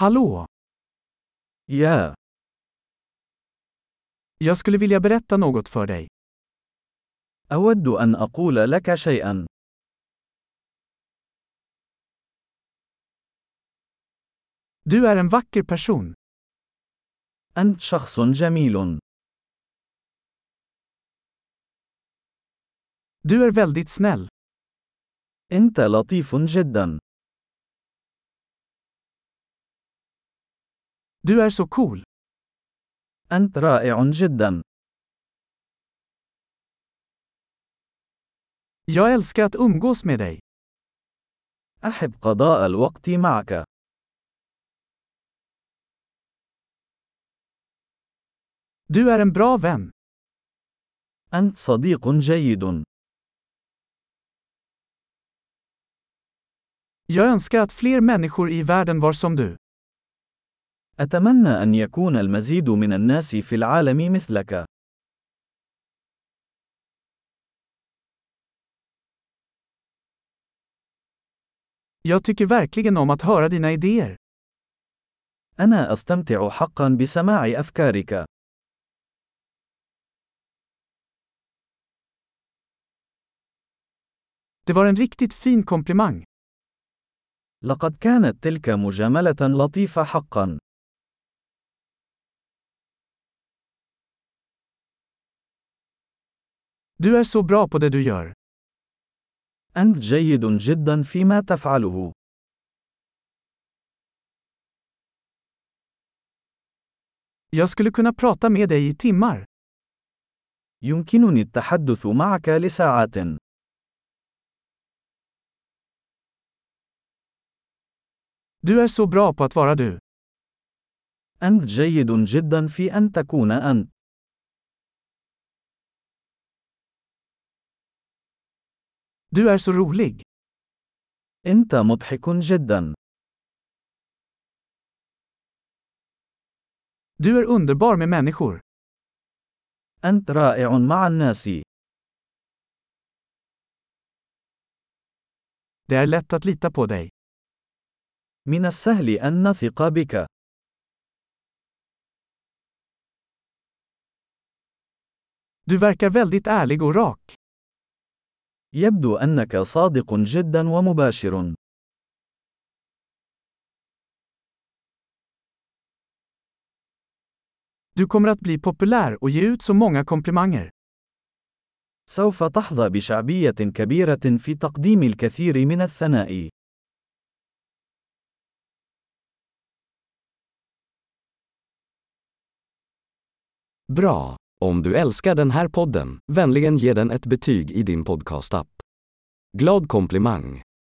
Hallå! Ja, Jag skulle vilja berätta något för dig. أود أن أقول لك شيئا. Du är en vacker person. أنت شخص جميل. Du är väldigt snäll. أنت لطيف جدا. Du är så cool. أنت رائع جدا. Jag älskar att umgås med dig. أحب قضاء الوقت معك. Du är en bra vän. أنت صديق جيد. Jag önskar att fler människor i världen var som du. أتمنى أن يكون المزيد من الناس في العالم مثلك. Jag tycker verkligen om att höra dina idéer. أنا أستمتع حقا بسماع أفكارك. Det var en riktigt fin komplimang. لقد كانت تلك مجاملة لطيفة حقا. Du är så bra på det du gör. أنت جيد جدا فيما تفعله. Jag skulle kunna prata med dig i timmar. يمكنني التحدث معك لساعات. Du är så bra på att vara du. أنت جيد جدا في أن تكون أنت. Du är så rolig. أنت مضحك جدا. Du är underbar med människor. أنت رائع مع الناس. Det är lätt att lita på dig. من السهل أن نثق بك. Du verkar väldigt ärlig och rak. يبدو أنك صادق جدا ومباشر. Du kommer att bli populär och ge ut så många komplimanger. سوف تحظى بشعبية كبيرة في تقديم الكثير من الثناء. Bra! Om du älskar den här podden, vänligen ge den ett betyg i din podcastapp. Glad komplimang!